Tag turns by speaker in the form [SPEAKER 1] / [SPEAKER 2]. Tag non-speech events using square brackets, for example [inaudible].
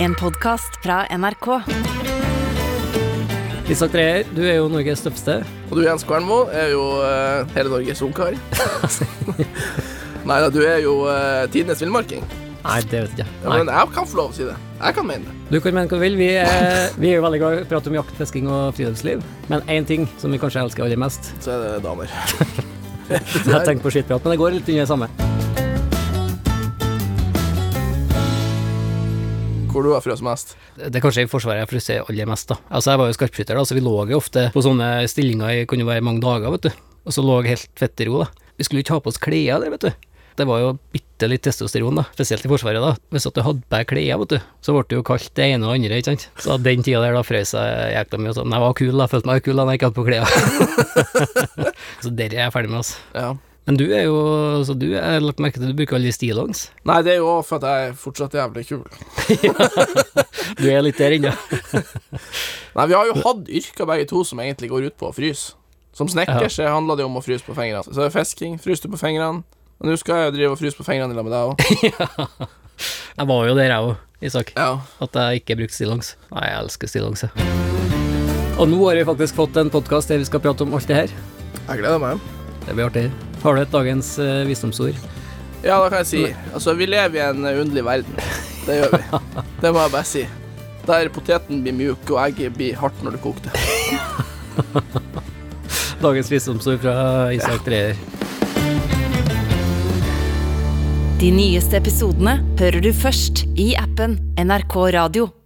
[SPEAKER 1] En podkast fra NRK.
[SPEAKER 2] Isak Dreyer, du er jo Norges
[SPEAKER 3] [laughs]
[SPEAKER 2] tøffeste.
[SPEAKER 3] Og du Jens Kvernmo er jo eh, hele Norges ungkar. Nei da, du er jo eh, tidenes villmarking.
[SPEAKER 2] Nei, det vet jeg ikke.
[SPEAKER 3] Ja, men jeg kan få lov å si det. Jeg kan mene det.
[SPEAKER 2] Du kan mene hva du vil. Vi er, vi er jo veldig glad i å prate om jakt, fisking og friluftsliv. Men én ting som vi kanskje elsker aller
[SPEAKER 3] [laughs]
[SPEAKER 2] mest
[SPEAKER 3] Så er det damer.
[SPEAKER 2] Jeg tenker på skittprat, men det går litt under det samme.
[SPEAKER 3] Hvor du har frøs mest.
[SPEAKER 2] Det er kanskje i Forsvaret jeg frustrerer aller mest, da. Altså, jeg var jo skarpskytter, da, så vi lå jo ofte på sånne stillinger i kunne være mange dager, vet du. Og så lå jeg helt fett i ro, da. Vi skulle jo ikke ha på oss klær der, vet du. Det var jo bitte litt testosteron, da, spesielt i Forsvaret, da. Hvis at du hadde på deg klær, vet du, så ble det jo kalt det ene og det andre, ikke sant. Så den tida der, da frøs jeg jækla mye, og sånn. Men jeg var kul, da. Følte meg kul da når jeg ikke hadde på klær. [laughs] så der er jeg ferdig med, altså.
[SPEAKER 3] Ja.
[SPEAKER 2] Men du er jo Så du jeg har lagt merke til at du bruker alle de stillongs.
[SPEAKER 3] Nei, det er jo også for at jeg er fortsatt jævlig kul.
[SPEAKER 2] Du er litt der inne.
[SPEAKER 3] Nei, vi har jo hatt yrker begge to som egentlig går ut på å fryse. Som snekker
[SPEAKER 2] Ja.
[SPEAKER 3] så handla det om å fryse på fingrene. Så er det fisking, fryste på fingrene. Men nå skal jeg jo drive og fryse på fingrene i lag med deg
[SPEAKER 2] [laughs]
[SPEAKER 3] òg.
[SPEAKER 2] Jeg var jo der, jeg òg, Isak.
[SPEAKER 3] Ja.
[SPEAKER 2] At jeg ikke brukte stillongs. Nei, jeg elsker stillongs, jeg. Og nå har vi faktisk fått en podkast der vi skal prate om alt det her.
[SPEAKER 3] Jeg gleder meg.
[SPEAKER 2] Det blir artig. Har du et dagens eh, visdomsord?
[SPEAKER 3] Ja, da kan jeg si Altså, vi lever i en eh, underlig verden. Det gjør vi. Det må jeg bare si. Der poteten blir mjuk, og egget blir hardt når du koker det.
[SPEAKER 2] Dagens visdomsord fra Isak Dreyer.
[SPEAKER 1] De nyeste episodene hører du først i appen NRK Radio.